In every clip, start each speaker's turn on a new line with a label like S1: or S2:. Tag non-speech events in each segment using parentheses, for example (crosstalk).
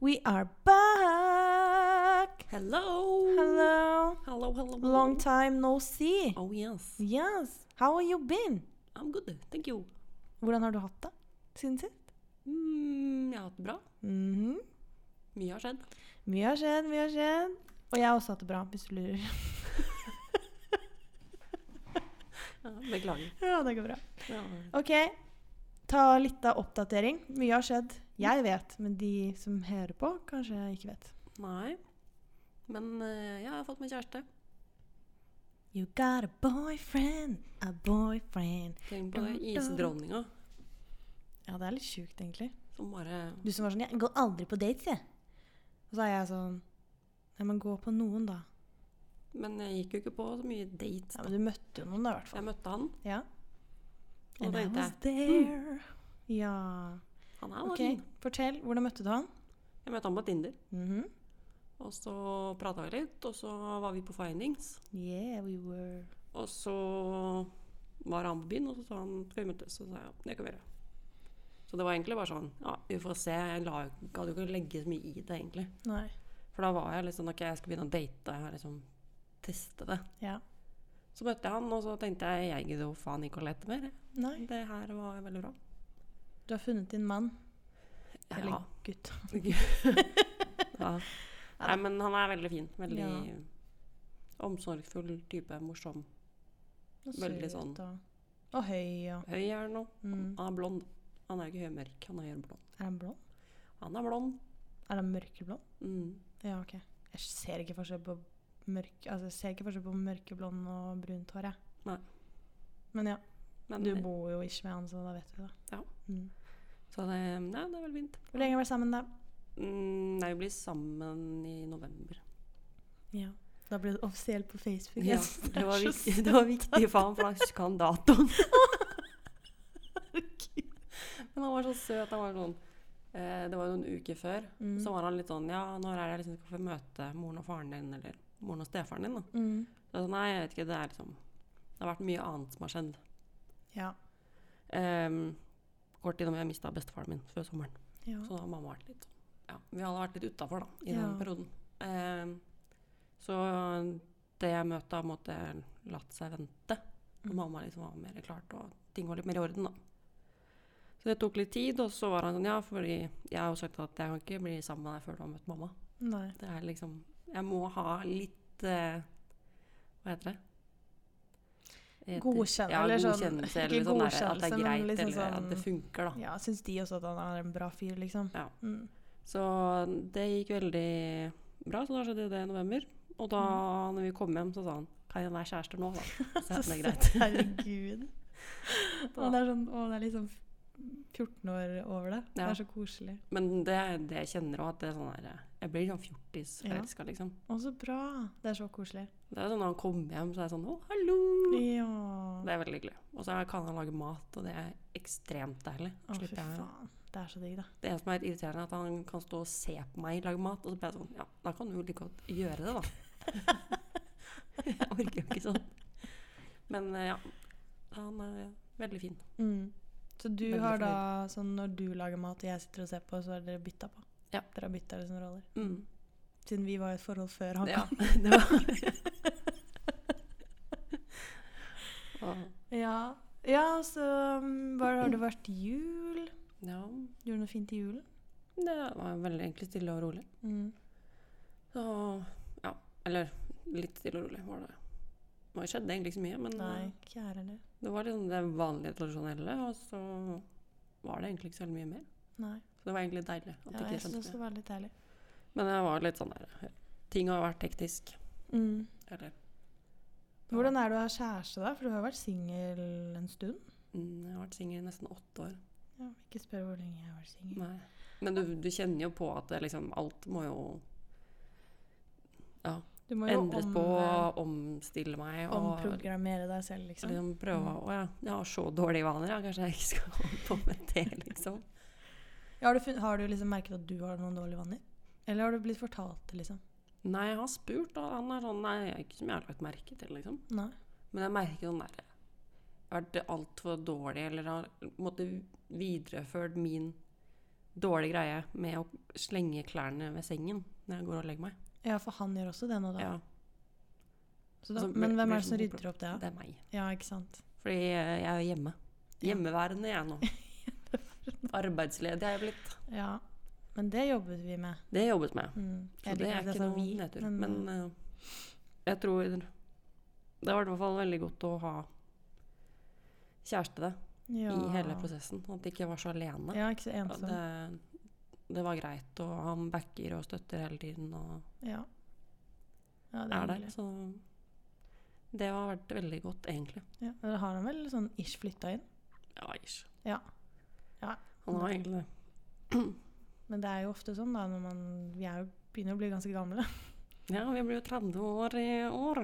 S1: We are back!
S2: Hello.
S1: Hello!
S2: Hello, hello.
S1: Long time no see.
S2: Oh yes.
S1: Yes! How have you been?
S2: I'm good. Thank you.
S1: Hvordan har du hatt det siden sist?
S2: Mm, jeg har hatt det bra.
S1: Mhm.
S2: Mye har skjedd.
S1: Mye har skjedd, mye har skjedd. Og jeg har også hatt det bra, hvis du lurer.
S2: Ja, beklager.
S1: (laughs) ja, det går bra.
S2: Ja.
S1: Ok, ta litt av oppdatering. Mye har skjedd. Jeg vet, men de som hører på, kanskje ikke vet.
S2: Nei. Men eh, jeg har fått meg kjæreste.
S1: You got a boyfriend, a boyfriend.
S2: Tenk på det.
S1: Dun, dun.
S2: Isdronninga
S1: Ja, det er litt sjukt, egentlig.
S2: som bare
S1: Du som var sånn 'Jeg går aldri på dates, jeg'. Og så er jeg sånn Nei, men gå på noen, da.
S2: Men jeg gikk jo ikke på så mye dates.
S1: Ja, men Du møtte jo noen, da, i hvert fall.
S2: Jeg møtte han.
S1: Ja.
S2: Og
S1: And
S2: Mm.
S1: I
S2: tenkte
S1: was
S2: jeg
S1: there. Ja.
S2: Han er jo
S1: Ok,
S2: fin.
S1: fortell. Hvordan møtte du han?
S2: Jeg møtte han på Tinder.
S1: Mhm.
S2: Og så prata vi litt, og så var vi på findings.
S1: Yeah, we were
S2: Og så var han på byen, og så sa han skal vi møtes. Og så sa jeg ja, det kan vi gjøre. Så det var egentlig bare sånn ja, vi får se. Jeg la, gadd jo ikke legge så mye i det, egentlig.
S1: Nei.
S2: For da var jeg litt sånn ok, jeg skal begynne å date og liksom teste det.
S1: Ja.
S2: Så møtte jeg han, og så tenkte jeg jeg gidder jo faen ikke å lete mer. jeg.
S1: Nei.
S2: Det her var veldig bra.
S1: Du har funnet din mann. Eller
S2: Ja.
S1: gutt.
S2: ja. Nei, men han er veldig fin. Veldig
S1: Ja.
S2: omsorgsfull type. Morsom.
S1: Og
S2: Veldig
S1: søt
S2: sånn.
S1: Og, og høy og
S2: Høy Ah. er han nå.
S1: mm.
S2: Han er blond. Han er jo ikke høymørk, han er blond.
S1: Er han blond?
S2: Han er blond.
S1: Er han mørkeblond?
S2: Mm.
S1: Ja, OK. Jeg ser ikke forskjell på mørk Altså, jeg ser ikke forskjell på mørkeblond og brunt hår, jeg.
S2: Nei.
S1: Men ja.
S2: Men
S1: Du
S2: det-
S1: bor jo ikke med han, så da vet du det.
S2: Ja.
S1: Mm.
S2: Så det, nei, det er veldig fint.
S1: Hvor lenge har dere vært sammen, da?
S2: Mm, nei, vi blir sammen i november.
S1: Ja. Da ble det offisielt på Facebook. (laughs)
S2: Ja,
S1: Jeg synes
S2: det, var
S1: er så
S2: viktig,
S1: søtt.
S2: det var viktig for han, for da husker han datoen. Men han var så søt. Han var sånn eh, Det var jo noen uker før.
S1: Mm.
S2: Så var han litt sånn Ja, når er det jeg liksom skal få møte moren og faren din, eller moren og stefaren din, da?
S1: Mm.
S2: Så jeg sa, nei, jeg vet ikke. Det er liksom Det har vært mye annet som har skjedd.
S1: Ja.
S2: Em, kort innom jeg mista bestefaren min før sommeren.
S1: ja.
S2: Så da har mamma vært litt sånn, Ja, vi alle har vært litt utafor, da, i den
S1: Ja.
S2: perioden. Ehm, så det jeg møtte, har på en måte latt seg vente. Og
S1: Mm.
S2: mamma liksom var mer klart, og ting var litt mer i orden, da. Så det tok litt tid, og så var han sånn Ja, fordi jeg har jo sagt at jeg kan ikke bli sammen med deg før du har møtt mamma.
S1: Nei.
S2: Det er liksom Jeg må ha litt eh, Hva heter det? Et-
S1: Godkjenn-
S2: ja,
S1: eller sånn-
S2: godkjennelse,
S1: ikke
S2: eller sånn der, at det
S1: godkjennelse,
S2: er
S1: men
S2: greit,
S1: liksom
S2: eller at det
S1: sånn-
S2: funker, da.
S1: Ja, syns de også at han er en bra fyr, liksom?
S2: Ja.
S1: Mm.
S2: Så det gikk veldig bra, så da skjedde det i november. Og da når vi kom hjem, så sa han kan jeg være
S1: (laughs)
S2: kjærester nå, da?
S1: Mm.
S2: Så
S1: Så
S2: det er greit.
S1: søtt.
S2: (laughs)
S1: Herregud.
S2: Da.
S1: Og det er sånn Å, det er liksom 14 år over det. Det
S2: Ja.
S1: er så koselig.
S2: Men det, det jeg kjenner òg, at det er sånn her Jeg blir sånn fjortisforelska, liksom.
S1: Å, så bra. Det er så koselig.
S2: Det er sånn når han kommer hjem, så er jeg sånn Å, hallo!
S1: Ja.
S2: Det er veldig hyggelig. Og så kan han lage mat, og det er ekstremt deilig.
S1: Å, fy
S2: Slipper jeg
S1: faen. Det er så digg, da.
S2: Det eneste som er litt irriterende, er at han kan stå og se på meg lage mat, og så blir jeg sånn Ja, da kan du jo like godt gjøre det, da.
S1: (laughs)
S2: jeg orker jo ikke sånn. Men eh, ja. Han er veldig fin.
S1: Mm. Så du
S2: Veldig
S1: har da sånn når du lager mat og jeg sitter og ser på, så har dere bytta på?
S2: Ja.
S1: Dere har bytta liksom roller?
S2: Mm.
S1: Siden vi var i et forhold før han
S2: Ja,
S1: kom.
S2: det var Ja.
S1: (laughs) Ja. ja, så um, hva har det vært jul?
S2: ja.
S1: Gjorde du noe fint i julen?
S2: Det var veldig egentlig stille og rolig.
S1: Mm.
S2: Så, ja. Eller litt stille og rolig var det. Det skjedde egentlig ikke så mye, men
S1: Nei,
S2: eh,
S1: ikke jeg heller.
S2: det var liksom det vanlige tradisjonelle, og så var det egentlig ikke så veldig mye mer.
S1: Nei.
S2: Så det var egentlig deilig. at
S1: Ja,
S2: det
S1: jeg
S2: ikke skjedde
S1: syns
S2: så
S1: det var litt deilig.
S2: mye. Men jeg var litt sånn der Ting har vært teknisk.
S1: Mm.
S2: Eller
S1: Hvordan er det å ha kjæreste, da? For du har jo vært singel en stund.
S2: mm, Jeg har vært singel i nesten åtte år.
S1: Jeg vil ikke spørre hvor lenge jeg har vært singel.
S2: Nei. Men du, du kjenner jo på at det liksom alt må jo
S1: Du må jo
S2: endres på,
S1: omve-
S2: omstille meg og
S1: omprogrammere deg selv, liksom.
S2: liksom prøve å Å ja, jeg har så dårlige vaner, ja. Kanskje jeg ikke skal (laughs) holde på med det, liksom.
S1: Ja, har, du fun har du liksom merket at du har noen dårlige vaner? Eller har du blitt fortalt det, liksom?
S2: Nei, jeg har spurt, og han er sånn Nei, jeg er ikke som jeg har lagt merke til, liksom.
S1: Nei.
S2: Men jeg merker sånn derre Vært altfor dårlig, eller har på en måte videreført min dårlig greie med å slenge klærne ved sengen når jeg går og legger meg.
S1: Ja, for han gjør også det nå, da.
S2: Ja,
S1: Så da
S2: Så
S1: men
S2: blir-
S1: hvem
S2: blir
S1: er det som
S2: det sånn-
S1: rydder opp det? da?
S2: Det er meg.
S1: Ja, ikke sant.
S2: Fordi eh, jeg er hjemme.
S1: Ja.
S2: Hjemmeværende jeg (laughs) nå. Arbeidsledig er jeg blitt.
S1: Ja. Men det jobber vi med.
S2: Det har jeg jobbet med.
S1: Mm.
S2: Så det er ikke noe nedtur. Men, eh, jeg tror Det har vært i hvert fall veldig godt å ha kjæreste
S1: ja.
S2: i hele prosessen. At jeg ikke var så alene.
S1: Ja, ikke så
S2: Og
S1: ensom.
S2: det, det var greit, og han backer og støtter hele tiden og
S1: Ja. ja, det
S2: er
S1: er
S2: der.
S1: hyggelig.
S2: Så det har vært veldig godt, egentlig.
S1: Ja. Eller har han vel sånn ish flytta inn?
S2: Ja, ish.
S1: Ja. Ja.
S2: Han har egentlig det.
S1: Men det er jo ofte sånn, da, når man Vi er jo, begynner å bli ganske gamle. (laughs)
S2: Ja, vi blir jo 30 år i år.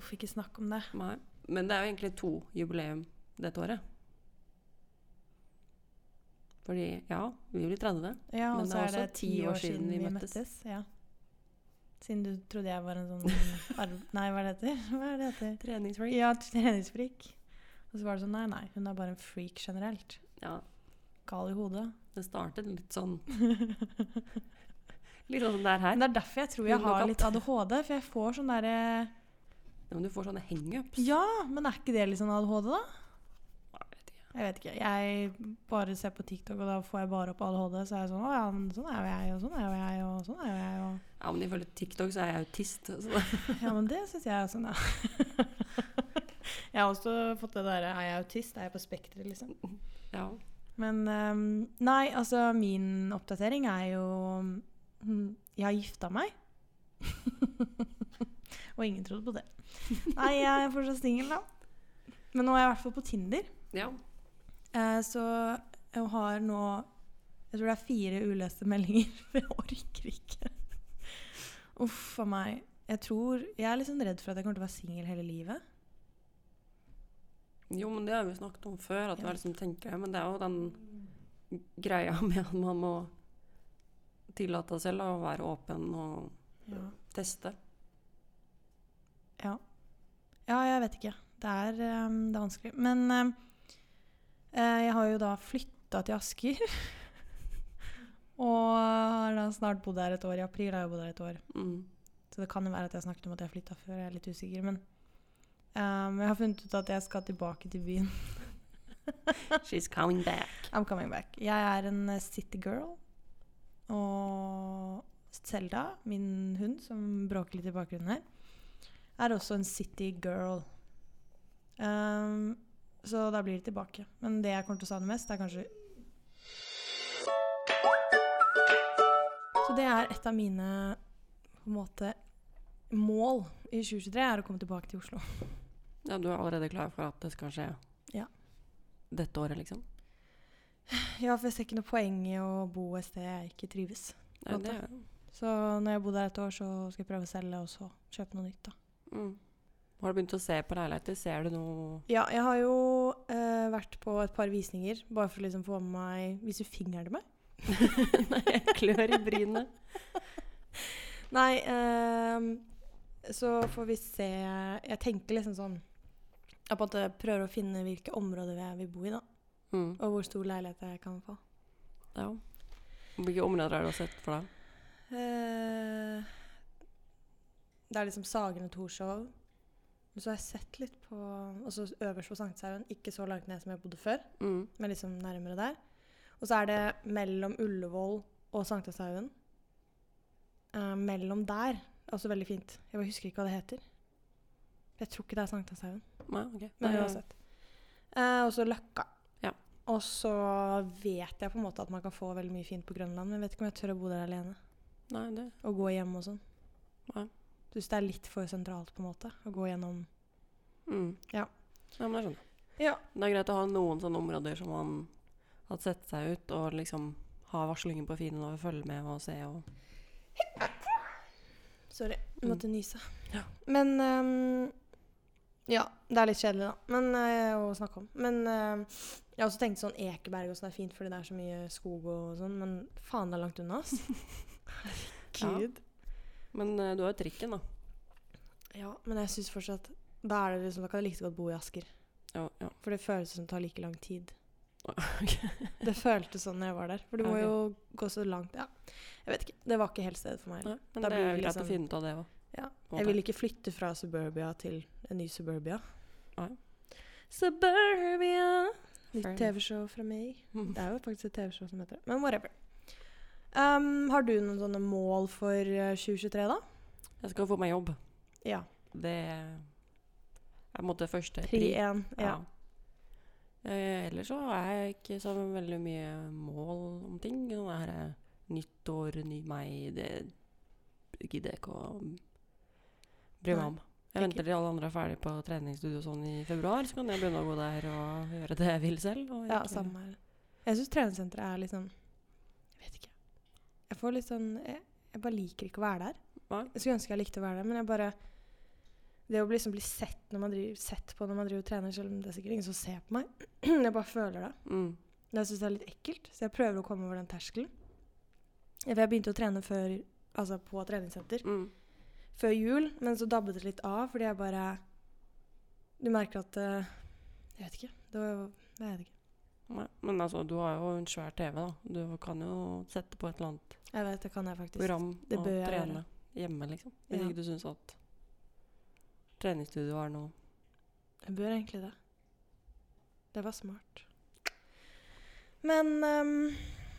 S1: Uff, ikke snakk om det.
S2: Nei. Men det er jo egentlig to jubileum dette året. Fordi, ja, vi blir 30.
S1: Ja, og
S2: Men det
S1: så
S2: er
S1: er det
S2: også
S1: ti år siden vi møttes. Ja. Siden du trodde jeg var en
S2: (laughs)
S1: sånn arv... Nei, hva er det heter? (laughs) Hva er det heter?
S2: Treningsfreak.
S1: Ja, treningsfreak. Og så var det sånn, nei, nei, hun er bare en freak generelt.
S2: Ja,
S1: Gal i hodet.
S2: det startet litt sånn Litt sånn der her.
S1: Men det er derfor jeg tror jeg
S2: Hund og
S1: har
S2: katt.
S1: litt ADHD, for jeg får sånn derre
S2: Ja, Men du får sånne hangups.
S1: Ja, men er ikke det litt sånn ADHD, da?
S2: Jeg vet ikke.
S1: Jeg vet ikke. Jeg bare ser på TikTok, og da får jeg bare opp ADHD. Så er jeg sånn Å ja, men sånn er jo jeg, og sånn er jo jeg, og sånn er jo jeg, og
S2: Ja, men ifølge TikTok så er jeg autist. Så det, (laughs)
S1: Ja, men det syns jeg sånn, også, da. (laughs) jeg har også fått det derre Er jeg autist? Er jeg på spekteret, liksom?
S2: ja.
S1: Men ehm, Nei, altså, min oppdatering er jo mm, Jeg har gifta meg. (laughs) Og ingen trodde på det. Nei, jeg er fortsatt singel, da. Men nå er jeg i hvert fall på Tinder.
S2: ja.
S1: Eh, så jeg har nå Jeg tror det er fire uleste meldinger, (laughs) for jeg orker ikke. Uff a meg. Jeg tror Jeg er liksom redd for at jeg kommer til å være singel hele livet.
S2: Jo, men det har vi jo snakket om før, at
S1: Ja.
S2: vi liksom tenker det. Men det er jo den greia (laughs) med at man må tillate seg selv å være åpen og
S1: Ja.
S2: teste.
S1: Ja, jeg vet ikke. Det er, ehm, det er vanskelig. Men ehm, eh, jeg har jo da flytta til Asker. (laughs) og har da snart bodd her et år. I april har jeg bodd her et år.
S2: Mm.
S1: Så det kan jo være at jeg snakket om at jeg flytta før. Jeg er litt usikker. Men ehm, jeg har funnet ut at jeg skal tilbake til byen.
S2: She's coming back.
S1: I'm coming back. Jeg er en eh, city girl. Og Selda, min hund som bråker litt i bakgrunnen her, er også en city girl. Ehm, så da blir det tilbake. Men det jeg kommer til å savne mest, er kanskje Så det er et av mine på en måte, mål i 2023, er å komme tilbake til Oslo.
S2: Ja, du er allerede klar for at det skal skje
S1: Ja.
S2: dette året, liksom?
S1: Ja, for jeg ser ikke noe poeng i å bo et sted jeg ikke trives.
S2: Nei,
S1: Flott,
S2: det,
S1: Så når jeg har bodd her et år, så skal jeg prøve å selge og så kjøpe noe nytt. da.
S2: mm. Har du begynt å se på leiligheter? Ser du noe
S1: Ja, jeg har jo eh, vært på et par visninger, bare for å liksom få med meg Viser du fingeren til (laughs) meg?
S2: Nei, jeg (laughs) klør i brynet.
S1: Nei, ehm, så får vi se Jeg tenker liksom sånn Jeg på en måte prøver å finne hvilke områder jeg vil bo i, da.
S2: Mm.
S1: Og hvor stor leilighet jeg kan få.
S2: Ja. Hvilke områder har du sett for deg?
S1: Eh, det er liksom Sagene Torshov. Og så har jeg sett litt på Og så øverst på Sankthanshaugen, ikke så langt ned som jeg bodde før.
S2: Mm.
S1: men liksom nærmere der. Og så er det mellom Ullevål og Sankthanshaugen. Eh, mellom der. Også veldig fint. Jeg bare husker ikke hva det heter. Jeg tror ikke det er Sankthanshaugen,
S2: Nei, altså, ok.
S1: men
S2: Det-
S1: uansett. Eh, og så Løkka.
S2: Ja.
S1: Og så vet jeg på en måte at man kan få veldig mye fint på Grønland, men jeg vet ikke om jeg tør å bo der alene.
S2: Nei, det
S1: Og gå hjem og sånn.
S2: Nei.
S1: Syns det er litt for sentralt, på en måte, å gå gjennom
S2: mm.
S1: Ja.
S2: ja, men jeg skjønner.
S1: Ja.
S2: Det er greit å ha noen sånne områder som man har sett seg ut, og liksom ha varslingen på fienden og følge med og se og
S1: Sorry, jeg
S2: Mm.
S1: måtte nyse.
S2: Ja.
S1: Men ehm, Ja, det er litt kjedelig, da. Men, eh, å snakke om. Men eh, jeg har også tenkt sånn Ekeberg og sånn er fint, fordi det er så mye skog og sånn. Men faen, det er langt (laughs) unna, ass. Herregud.
S2: Men eh, du har jo trikken, da.
S1: Ja. men jeg syns fortsatt Da er det liksom, da kan jeg like så godt bo i Asker.
S2: Ja, (laughs) ja.
S1: For det føles som det tar like lang tid. (laughs) Det føltes sånn når jeg var der. For du må
S2: Ok.
S1: jo gå så langt Ja, jeg vet ikke. Det var ikke helt stedet for meg.
S2: Nei, men
S1: Da
S2: det
S1: blir
S2: er
S1: det
S2: greit
S1: liksom-
S2: å finne ut av det òg.
S1: Ja.
S2: På en
S1: Jeg
S2: måte.
S1: vil ikke flytte fra suburbia til en ny suburbia.
S2: Nei.
S1: Suburbia!
S2: Fair
S1: Nytt
S2: enough.
S1: TV-show fra meg.
S2: (laughs)
S1: Det er jo faktisk et TV-show som heter det. Men whatever. Um, har du noen sånne mål for eh, 2023, da?
S2: Jeg skal få meg jobb.
S1: Ja.
S2: Det er på en måte første
S1: Pri 1. Ja.
S2: Ja. Eh, ellers så har jeg ikke så veldig mye mål om ting. Sånn her eh, nytt år, ny meg, det gidder jeg ikke å bry meg
S1: Nei,
S2: om. Jeg
S1: ikke.
S2: venter til alle andre er ferdig på treningsstudio og sånn i februar, så kan jeg begynne å gå der og gjøre det jeg vil selv. Og
S1: ja,
S2: ikke-
S1: samme her. Jeg syns treningssenteret er litt sånn Jeg vet ikke. Jeg får litt sånn Jeg, jeg bare liker ikke å være der.
S2: Nei.
S1: Jeg skulle ønske jeg likte å være der, men jeg bare Det å bli- liksom bli sett, når man driver, sett på når man driver og trener, selv om det er sikkert ingen som ser på meg (clears throat) Jeg bare føler det.
S2: Mm.
S1: Det syns jeg er litt ekkelt, så jeg prøver å komme over den terskelen. Ja, For jeg begynte å trene før, altså på treningssenter
S2: Mm.
S1: før jul, men så dabbet det litt av fordi jeg bare Du merker at eh, Jeg vet ikke. Det var Jeg vet ikke.
S2: Nei, Men altså, du har jo en svær TV, da. Du kan jo sette på et eller annet
S1: Jeg vet, det kan jeg faktisk.
S2: program
S1: det
S2: og
S1: bør jeg
S2: trene hjemme, liksom. Hvis
S1: Ja.
S2: ikke du syns at treningsstudio er noe
S1: Jeg bør egentlig det. Det var smart. Men ehm,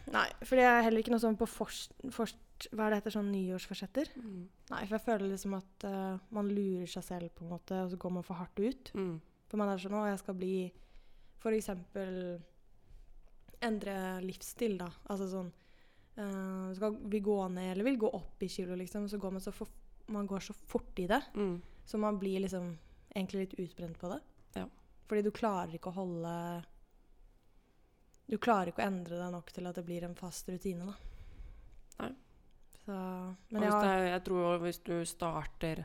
S1: Nei, for jeg er heller ikke noe sånn på forst... forst hva er det heter? Sånn nyårsforsetter?
S2: mm.
S1: Nei, for jeg føler liksom at eh, man lurer seg selv, på en måte, og så går man for hardt ut.
S2: Mm.
S1: For man er sånn Å, jeg skal bli For eksempel endre livsstil, da. Altså sånn eh, Skal vi gå ned, eller vil gå opp i kilo, liksom, så går man så, for, man går så fort i det.
S2: Mm.
S1: Så man blir liksom egentlig litt utbrent på det.
S2: Ja.
S1: Fordi du klarer ikke å holde Du klarer ikke å endre deg nok til at det blir en fast rutine, da.
S2: Nei.
S1: Så
S2: Og
S1: Men
S2: hvis
S1: jeg
S2: det
S1: har
S2: er, jeg tror også hvis du starter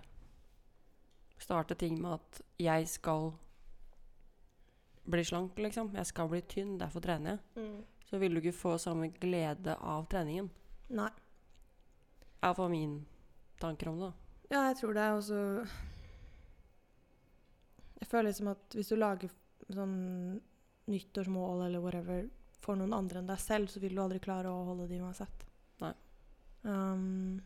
S2: Starter ting med at jeg skal bli slank, liksom. Jeg skal bli tynn, derfor trener jeg.
S1: mm,
S2: Så vil du ikke få samme glede av treningen.
S1: Nei.
S2: Er iallfall min tanker om det. da.
S1: Ja, jeg tror det er også Jeg føler liksom at hvis du lager sånn nyttårsmål eller whatever for noen andre enn deg selv, så vil du aldri klare å holde de uansett.
S2: Nei.
S1: Um,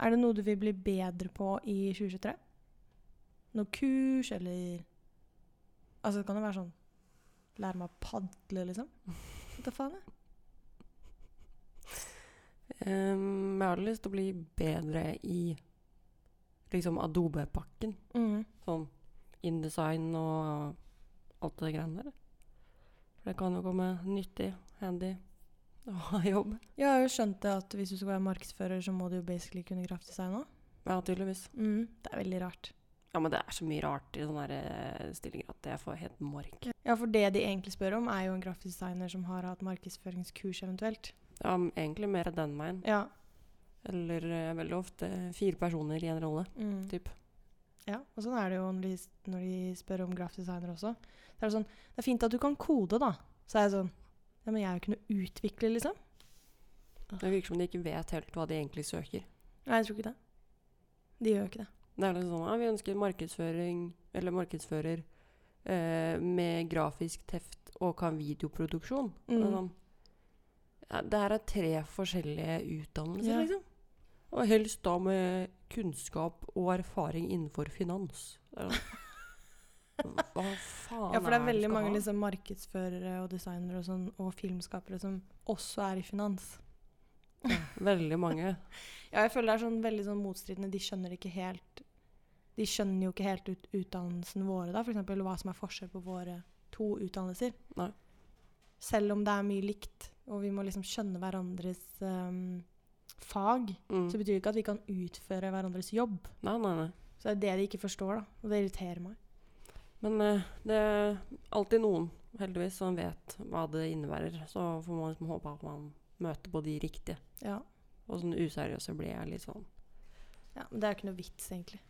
S1: er det noe du vil bli bedre på i 2023? Noe kurs eller Altså, det kan jo være sånn Lære meg å padle, liksom. Vet da faen, jeg.
S2: Ehm, jeg har lyst til å bli bedre i liksom Adobe-pakken.
S1: Mm.
S2: Sånn InDesign og alt det greiene der. For det kan jo komme nyttig, handy (laughs) å ha i jobb.
S1: Jeg har jo skjønt det at hvis du skal være markedsfører, så må du jo basically kunne graftdesign òg.
S2: Ja, tydeligvis.
S1: Mm. Det er veldig rart.
S2: Ja, men det er så mye rart i sånne her, eh, stillinger at jeg får helt mork.
S1: Ja, for det de egentlig spør om, er jo en grafisk designer som har hatt markedsføringskurs eventuelt.
S2: Ja, men egentlig mer den veien.
S1: Ja.
S2: Eller eh, veldig ofte fire personer i en rolle.
S1: Mm.
S2: Typ.
S1: Ja, og sånn er det jo når de, når de spør om grafiskdesigner også. Det er det sånn, det er fint at du kan kode, da. Så er jeg sånn, ja, men jeg er jo ikke noe utvikler, liksom.
S2: Det virker som de ikke vet helt hva de egentlig søker.
S1: Nei, jeg tror ikke det. De gjør jo ikke det.
S2: Det er liksom sånn, ja, vi ønsker markedsføring, eller markedsfører, eh, med grafisk teft og kan videoproduksjon. Og
S1: Mm.
S2: Sånn. Ja, det her er tre forskjellige utdannelser,
S1: Ja.
S2: liksom. Og helst da med kunnskap og erfaring innenfor finans. Det er
S1: (laughs)
S2: sånn, Hva faen
S1: Ja, for det er
S2: du
S1: veldig
S2: skal
S1: mange
S2: ha?
S1: liksom, markedsførere og designere og, sånn, og filmskapere som også er i finans.
S2: Ja, veldig mange.
S1: Ja, jeg føler det er sånn veldig sånn motstridende. De skjønner ikke helt De skjønner jo ikke helt ut, utdannelsen våre, da. For eksempel hva som er forskjell på våre to utdannelser.
S2: Nei.
S1: Selv om det er mye likt, og vi må liksom skjønne hverandres ehm, fag,
S2: Mm.
S1: så betyr det ikke at vi kan utføre hverandres jobb.
S2: Nei, nei, nei.
S1: Så det er det de ikke forstår, da. Og det irriterer meg.
S2: Men eh, det er alltid noen, heldigvis, som vet hva det innebærer. Så får man liksom håpe at man møter på de riktige.
S1: Ja.
S2: Og sånn useriøse blir jeg litt sånn.
S1: ja men det er jo ikke noe vits, egentlig.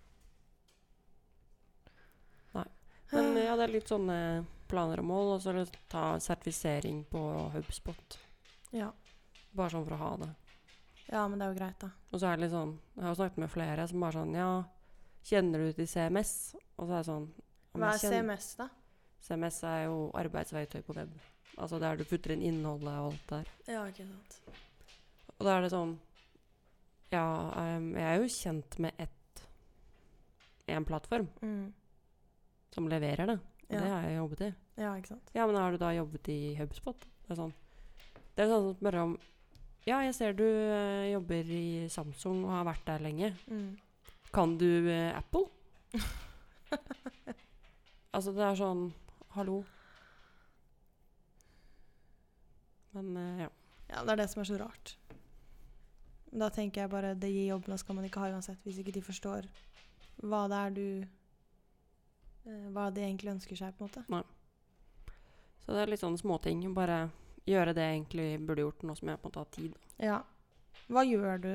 S2: Nei. Men eh, ja, det er litt sånne planer og mål. Og så har jeg lyst til å ta sertifisering på Hubspot.
S1: Eh, Ja.
S2: Bare sånn for å ha det.
S1: Ja, men det er jo greit, da.
S2: Og så er det litt sånn Jeg har jo snakket med flere som bare sånn Ja, kjenner du til CMS? Og så er det sånn om
S1: Hva
S2: jeg
S1: er
S2: kjenner-
S1: CMS, da?
S2: CMS er jo arbeidsverktøy på web. Altså der du putter inn innholdet og alt der.
S1: Ja, ikke sant.
S2: Og da er det sånn Ja, ehm, jeg er jo kjent med ett en plattform
S1: Mm.
S2: som leverer det. Og
S1: Ja.
S2: det har jeg jobbet i.
S1: Ja, ikke sant.
S2: Ja, men har du da jobbet i HubSpot? Det er sånn Det er sånn som spør om Ja, jeg ser du eh, jobber i Samsung og har vært der lenge.
S1: Mm.
S2: Kan du eh, Apple? altså, det er sånn Hallo. Men eh, ja.
S1: Ja, det er det som er så rart. Da tenker jeg bare det gir jobben, og skal man ikke ha uansett, hvis ikke de forstår hva det er du eh, Hva de egentlig ønsker seg, på en måte.
S2: Så det er litt sånne småting. Bare gjøre det jeg egentlig burde gjort, nå som jeg på en måte har tid.
S1: Ja. Hva gjør du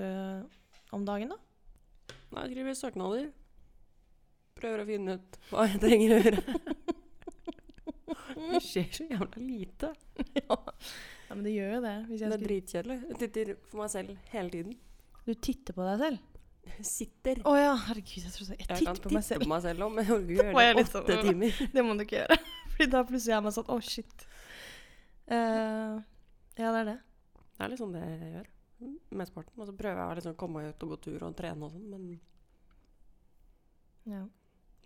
S1: om dagen, (laughs) da?
S2: Nei, jeg skriver søknader. Prøver å finne ut hva jeg trenger å
S1: (laughs)
S2: gjøre. Det skjer så jævla lite.
S1: Ja, men det gjør jo det. Hvis
S2: Det
S1: jeg
S2: er
S1: skulle...
S2: dritkjedelig. Jeg titter for meg selv hele tiden.
S1: Du titter på deg selv?
S2: Sitter.
S1: Å ja, herregud, jeg trodde jeg
S2: Jeg
S1: titter
S2: kan
S1: på meg
S2: titte
S1: selv.
S2: på meg selv òg, men jeg orker
S1: Da var
S2: ikke
S1: jeg
S2: gjøre det
S1: litt sånn,
S2: åtte
S1: øh.
S2: timer.
S1: (laughs) Det må du ikke gjøre. Fordi da plutselig er man sånn Å, shit. Eh, ja, det er det.
S2: Det er litt sånn det jeg gjør. Med sporten. Og så prøver jeg å liksom komme meg ut og gå tur og trene og sånn, men jeg
S1: Ja.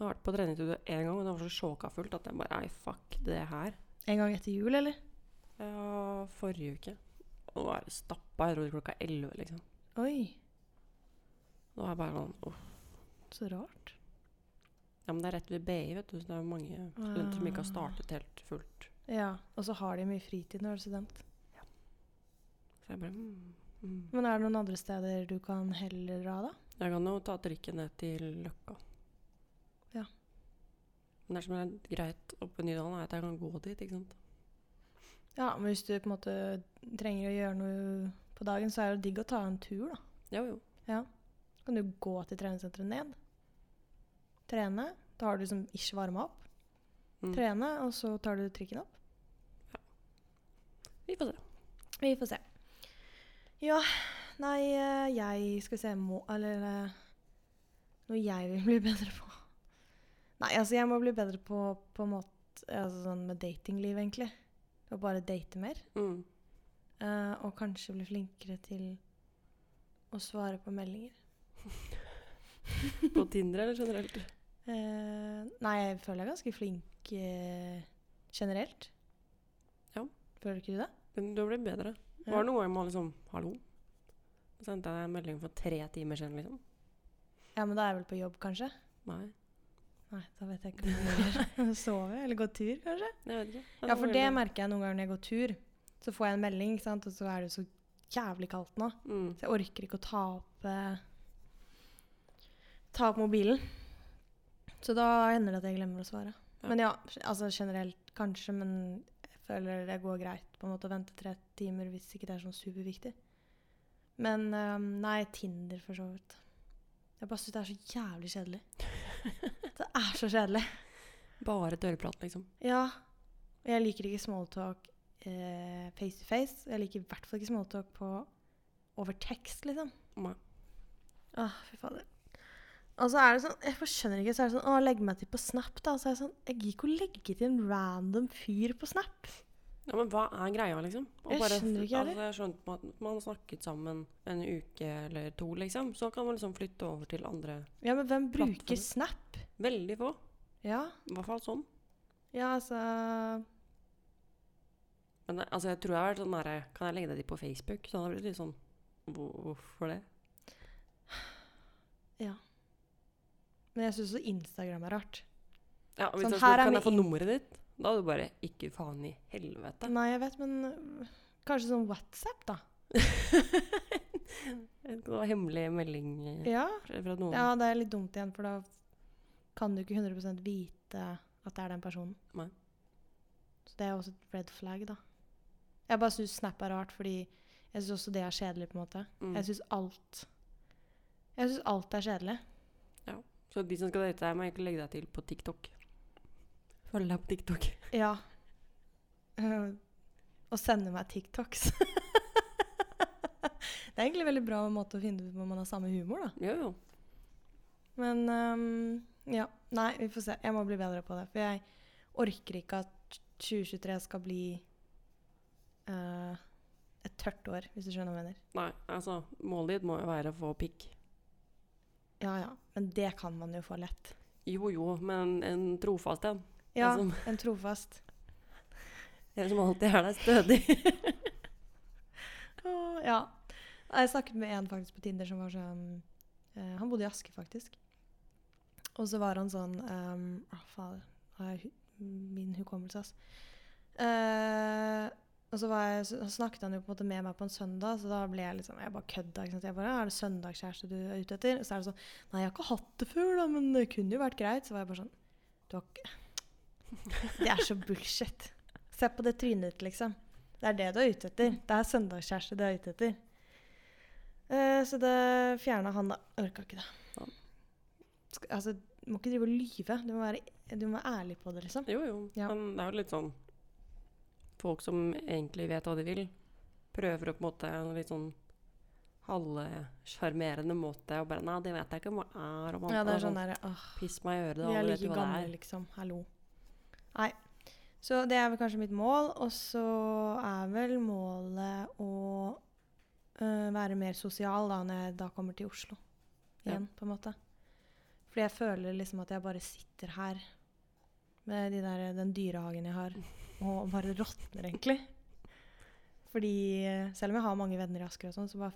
S2: har vært på treningsstudio én gang, og det var så sjåka fullt at jeg bare Nei, fuck det her.
S1: En gang etter jul, eller?
S2: Ja, Eh, forrige uke. Og nå er det stappa. Jeg trodde klokka elleve, liksom.
S1: Oi,
S2: Nå er jeg bare sånn uff.
S1: så rart.
S2: Ja, men det er rett ved BI, vet du, så det er jo mange studenter som
S1: Ah.
S2: ikke har startet helt fullt.
S1: Ja, og så har de mye fritid når du er student.
S2: Så jeg bare mm, mm.
S1: Men er det noen andre steder du kan heller dra, da?
S2: Jeg kan jo ta trikken ned til Løkka.
S1: Ja.
S2: Men det som er greit oppe i Nydalen, er at jeg kan gå dit, ikke sant.
S1: Ja, men hvis du på en måte trenger å gjøre noe på dagen, så er det jo digg å ta en tur, da.
S2: Jo, jo.
S1: Kan du gå til treningssenteret ned, trene, da har du liksom ish varma opp,
S2: Mm.
S1: trene, og så tar du trikken opp.
S2: Vi får se.
S1: Vi får se. Ja, nei, eh, jeg skal se må Eller eh, noe jeg vil bli bedre på. Nei, altså jeg må bli bedre på på en måte altså sånn med datingliv, egentlig. Å bare date mer.
S2: Mm.
S1: eh, og kanskje bli flinkere til å svare på meldinger.
S2: På Tinder eller generelt?
S1: Eh, nei, jeg føler jeg er ganske flink eh, generelt.
S2: Ja.
S1: Føler ikke du det?
S2: Men du har blitt bedre.
S1: Ja.
S2: Var det noen gang man liksom Hallo? Så sendte jeg deg en melding for tre timer siden, liksom.
S1: Ja, men da er jeg vel på jobb, kanskje?
S2: Nei.
S1: Nei, da vet jeg ikke hva jeg gjør. Sove? Eller gå tur, kanskje?
S2: Jeg vet ikke.
S1: Ja, for det merker jeg noen ganger når jeg går tur. Så får jeg en melding, ikke sant? og så er det jo så jævlig kaldt nå.
S2: mm.
S1: Så jeg orker ikke å ta opp eh, Ta opp mobilen. Så da hender det at jeg glemmer å svare.
S2: Ja.
S1: Men ja, altså generelt kanskje, men jeg føler det går greit på en måte å vente tre timer hvis ikke det er sånn superviktig. Men eh, nei, Tinder for så vidt. Jeg bare syns det er så jævlig (laughs) kjedelig. Det er så kjedelig.
S2: Bare dørprat, liksom.
S1: Ja. Og jeg liker ikke smalltalk eh, face to face. Jeg liker i hvert fall ikke smalltalk på over tekst, liksom.
S2: Nei.
S1: Åh, fy fader. Og så er det sånn, jeg bare skjønner ikke, så er det sånn, å, legg meg til på Snap, da. Så er det sånn, jeg gir ikke å legge til en random fyr på Snap.
S2: Ja, men hva er greia, liksom? Å
S1: Jeg skjønner ikke,
S2: altså, jeg skjønte på at man har snakket sammen en uke eller to, liksom. Så kan man liksom flytte over til andre.
S1: Ja, men hvem
S2: Plattform.
S1: bruker Snap?
S2: Veldig få.
S1: Ja,
S2: I hvert fall sånn.
S1: ja, altså,
S2: Men eh, altså, jeg tror jeg har vært sånn nære Kan jeg legge deg til på Facebook? Så hadde jeg blitt litt sånn hvor- Hvorfor det?
S1: men jeg synes også Instagram er rart.
S2: Ja, hvis
S1: Sånn, her
S2: jeg spurte
S1: er
S2: kan
S1: min
S2: jeg få
S1: in-
S2: nummeret ditt, da hadde du bare Ikke faen i helvete.
S1: Nei, jeg vet, men øh, kanskje sånn WhatsApp, da?
S2: En god hemmelig melding eh,
S1: Ja,
S2: fra fra noen.
S1: Ja, det er litt dumt igjen, for da kan du ikke 100 vite at det er den personen.
S2: Nei.
S1: Så det er også et red flag, da. Jeg bare syns Snap er rart, fordi jeg syns også det er kjedelig, på en måte.
S2: Mm.
S1: Jeg syns alt Jeg syns alt er kjedelig.
S2: Så de som skal date deg, må egentlig legge deg til på TikTok. Følg deg på TikTok.
S1: Ja. (laughs) Eh, Og sende meg TikToks. det (laughs) Det er egentlig veldig bra måte å finne ut om man har samme humor, da.
S2: Jo, jo.
S1: Men ehm, ja. Nei, vi får se. Jeg må bli bedre på det. For jeg orker ikke at 2023 skal bli eh, et tørt år, hvis du skjønner hva jeg mener.
S2: Nei, altså, målet ditt må jo være å få pikk.
S1: Ja, ja. Men det kan man jo få lett. Altså.
S2: Jo, jo, men en trofast en.
S1: Ja,
S2: En som, (laughs)
S1: en trofast.
S2: en som alltid er der stødig.
S1: (laughs)
S2: (laughs)
S1: Åh, ja. Jeg snakket med en faktisk på Tinder som var sånn eh, Han bodde i Aske, faktisk. Og så var han sånn ehm, Å, fader. nå har jeg hu- Min hukommelse, ass. Eh, og så, var jeg, så snakket han jo på en måte med meg på en søndag, så da ble jeg liksom Jeg bare kødda. ikke sant? Jeg bare, Er det søndagskjæreste du er ute etter? Og så er det sånn Nei, jeg har ikke hatt det før, da, men det kunne jo vært greit. Så var jeg bare sånn Du har ikke (laughs) Det er så bullshit. Se på det trynet ditt, liksom. Det er det du er ute etter. Det er søndagskjæreste du er ute etter. Eh, så det fjerna han, da. Orka ikke det.
S2: Ja.
S1: Sk altså, du må ikke drive og lyve. Du må, være, du må være ærlig på det, liksom.
S2: Jo, jo.
S1: Ja.
S2: Men det er jo litt sånn Folk som egentlig vet hva de vil, prøver å på en måte en litt sånn halvsjarmerende måte og bare Nei, det vet jeg ikke hva er. Og man,
S1: Ja, det er
S2: og
S1: sånn der, åh,
S2: Piss meg i øret, da.
S1: Vi er
S2: alle vet
S1: like
S2: jo hva det
S1: gamle,
S2: er.
S1: liksom. Hallo. Nei. Så det er vel kanskje mitt mål. Og så er vel målet å øh, være mer sosial da når jeg da kommer til Oslo
S2: Ja.
S1: igjen, på en måte. Fordi jeg føler liksom at jeg bare sitter her med de der, den dyrehagen jeg har, og bare råtner, egentlig. Fordi øh, selv om jeg har mange venner i Asker og sånn, så bare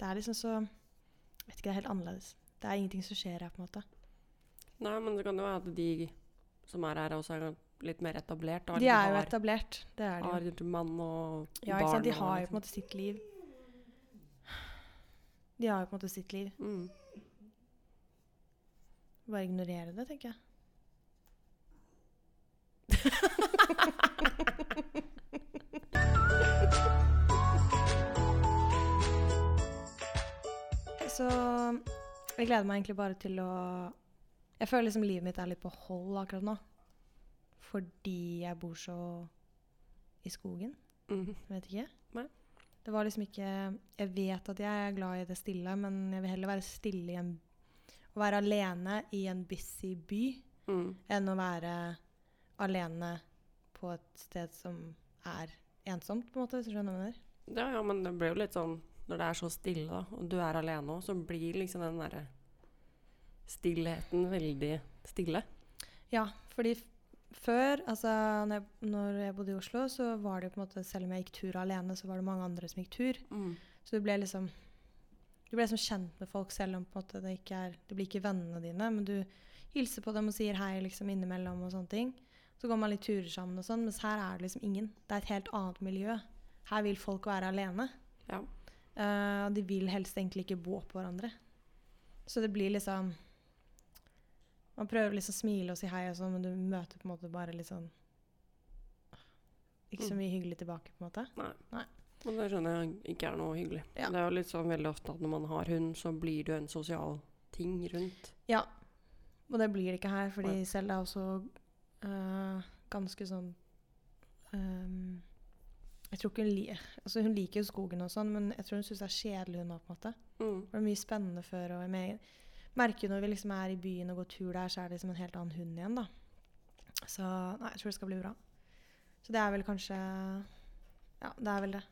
S1: Det er liksom så Vet ikke, det er helt annerledes. Det er ingenting som skjer her, på en måte.
S2: Nei, men det kan jo være at de som er her, også er litt mer etablert. Da,
S1: De er jo
S2: har,
S1: etablert. Det er de jo.
S2: har mann og
S1: Ja,
S2: barn.
S1: ikke sant? De
S2: og
S1: har jo på en
S2: liksom-
S1: måte sitt liv. De har jo på en måte sitt liv.
S2: Mm.
S1: Bare ignorere det, tenker jeg. (laughs) Så jeg gleder meg egentlig bare til å Jeg føler liksom livet mitt er litt på hold akkurat nå. Fordi jeg bor så i skogen.
S2: Mhm.
S1: Jeg vet ikke.
S2: Nei.
S1: Det var liksom ikke Jeg vet at jeg er glad i det stille, men jeg vil heller være stille i en Å være alene i en busy by
S2: Mm.
S1: enn å være alene på et sted som er ensomt, på en måte, hvis du skjønner hva jeg mener.
S2: Ja, ja, men det blir jo litt sånn Når det er så stille, da, og du er alene òg, så blir liksom den derre stillheten veldig stille.
S1: Ja, fordi f- før, altså når jeg, når jeg bodde i Oslo, så var det jo på en måte Selv om jeg gikk tur alene, så var det mange andre som gikk tur.
S2: Mm.
S1: Så du ble liksom Du ble liksom kjent med folk selv om på en måte det ikke er Det blir ikke vennene dine, men du hilser på dem og sier hei liksom innimellom og sånne ting. Så går man litt turer sammen og sånn, mens her er det liksom ingen. Det er et helt annet miljø. Her vil folk være alene.
S2: Ja.
S1: Eh, og de vil helst egentlig ikke bo oppå hverandre. Så det blir liksom Man prøver liksom å smile og si hei og sånn, men du møter på en måte bare litt sånn Ikke så
S2: Mm.
S1: mye hyggelig tilbake, på en måte.
S2: Men det skjønner jeg ikke er noe hyggelig.
S1: Ja.
S2: Det er jo litt sånn veldig ofte at når man har hund, så blir det jo en sosial ting rundt.
S1: Og det blir det ikke her, fordi selv er også øh, ganske sånn øhm, Jeg tror ikke hun, li altså, hun liker jo skogen og sånn, men jeg tror hun syns det er kjedelig, hun òg, på en måte.
S2: Mm.
S1: Det var mye spennende før. og jeg mer- merker jo når vi liksom er i byen og går tur der, så er det liksom en helt annen hund igjen, da. Så nei, jeg tror det skal bli bra. Så det er vel kanskje Ja, det er vel det.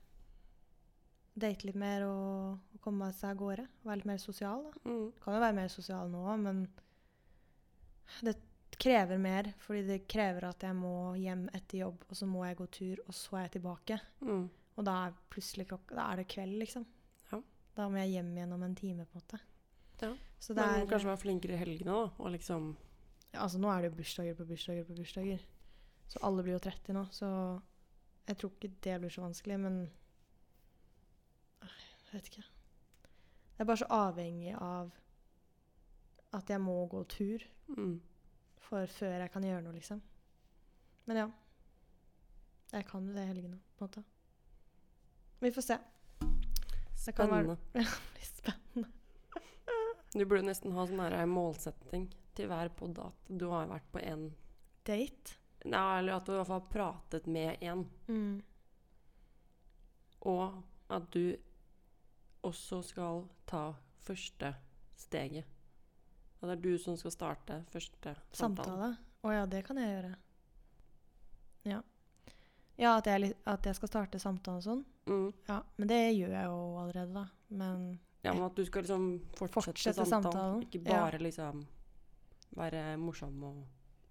S1: Date litt mer og, og komme seg av gårde. Være litt mer sosial, da.
S2: Mm.
S1: Kan jo være mer sosial nå òg, men det krever mer. Fordi det krever at jeg må hjem etter jobb, og så må jeg gå tur, og så er jeg tilbake.
S2: Mm.
S1: Og da er plutselig klokka Da er det kveld, liksom.
S2: Ja.
S1: Da må jeg hjem igjen om en time, på en måte.
S2: Ja.
S1: Så det
S2: Men
S1: er
S2: kanskje være flinkere i helgene, da. Og liksom
S1: Altså, nå er det jo bursdager på bursdager på bursdager. Så alle blir jo 30 nå, så jeg tror ikke det blir så vanskelig, men Nei, Jeg vet ikke. Det er bare så avhengig av at jeg må gå tur.
S2: mm.
S1: for før jeg kan gjøre noe, liksom. Men ja. Jeg kan jo det i helgene, på en måte. Vi får se. Det kan være-
S2: Spennende.
S1: Det blir spennende.
S2: Du burde nesten ha sånn her målsetting til hver podd at du har vært på en
S1: Date?
S2: Ja, eller at du i hvert fall har pratet med en,
S1: Mm.
S2: og at du også skal ta første steget. Og det er du som skal starte første samtalen.
S1: Samtale? Å ja, det kan jeg gjøre. Ja. Ja, at jeg, er litt- at jeg skal starte samtalen og sånn.
S2: Mm.
S1: Ja, men det gjør jeg jo allerede, da. Men
S2: (laughs) Ja, men at du skal liksom fortsette,
S1: Fortsette
S2: samtalen.
S1: samtalen,
S2: Ikke
S1: ja.
S2: bare liksom være morsom og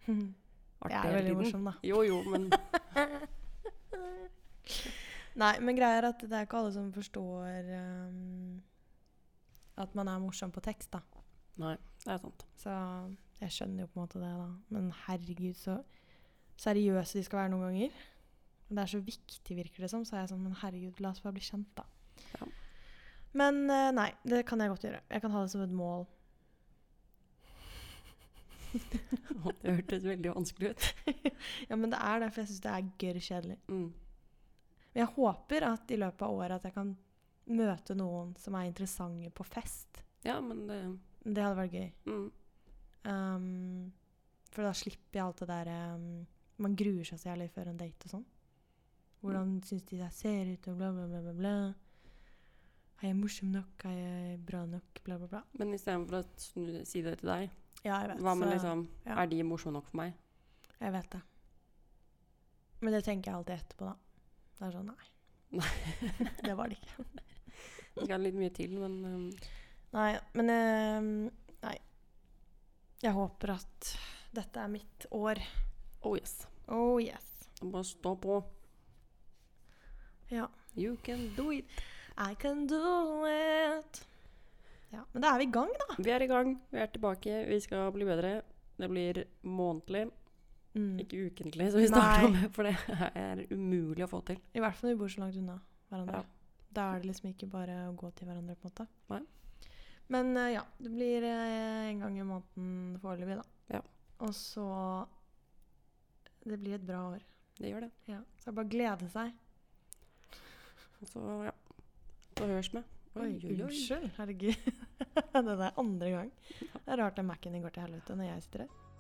S2: artig
S1: jeg er
S2: hele
S1: veldig morsom,
S2: tiden.
S1: da.
S2: Jo, jo,
S1: (laughs)
S2: men
S1: Nei, men greia er at det er ikke alle som forstår ehm, at man er morsom på tekst, da.
S2: Nei, det er sant.
S1: Så jeg skjønner jo på en måte det, da. Men herregud, så seriøse de skal være noen ganger. Det er så viktig, virker det som. Så er jeg sånn, men herregud, la oss bare bli kjent, da.
S2: Ja.
S1: Men eh, nei, det kan jeg godt gjøre. Jeg kan ha det som et mål.
S2: Det hørtes veldig vanskelig ut.
S1: Ja, men det er det, for jeg syns det er gørr kjedelig.
S2: Mm.
S1: Men jeg håper at i løpet av året at jeg kan møte noen som er interessante på fest.
S2: Ja, men det
S1: Det hadde vært gøy.
S2: mm.
S1: Um, for da slipper jeg alt det der um, Man gruer seg så jævlig før en date og sånn. Hvordan
S2: Mm.
S1: syns de jeg ser ut, og bla, bla, bla, bla, bla. Er jeg morsom nok? Er jeg bra nok? Bla, bla, bla.
S2: Men istedenfor å snu, si det til deg,
S1: Ja, jeg vet,
S2: hva med
S1: så-
S2: liksom
S1: ja.
S2: Er de morsomme nok for meg?
S1: jeg vet det. Men det tenker jeg alltid etterpå, da. Det er sånn Nei.
S2: (laughs)
S1: det var det ikke.
S2: Det skal litt mye til, men um,
S1: Nei, men um, Nei. Jeg håper at dette er mitt år.
S2: oh yes.
S1: Oh yes.
S2: Du må stå på.
S1: Ja.
S2: You can do it.
S1: I can do it. Ja, men da er vi i gang, da.
S2: Vi er i gang. Vi er tilbake. Vi skal bli bedre. Det blir månedlig,
S1: Mm.
S2: ikke ukentlig, som vi starta med, for det er umulig å få til.
S1: I hvert fall når vi bor så langt unna hverandre.
S2: Ja.
S1: Da er det liksom ikke bare å gå til hverandre, på en måte.
S2: Nei.
S1: Men eh, ja, det blir eh, en gang i måneden foreløpig, da.
S2: Ja.
S1: Og så Det blir et bra år.
S2: Det gjør det.
S1: Ja. Så det er bare å glede seg.
S2: Og Så ja. Så høres vi.
S1: (laughs) unnskyld. Herregud. det der er andre gang. Det er rart den Mac-en din går til helvete når jeg sitter her.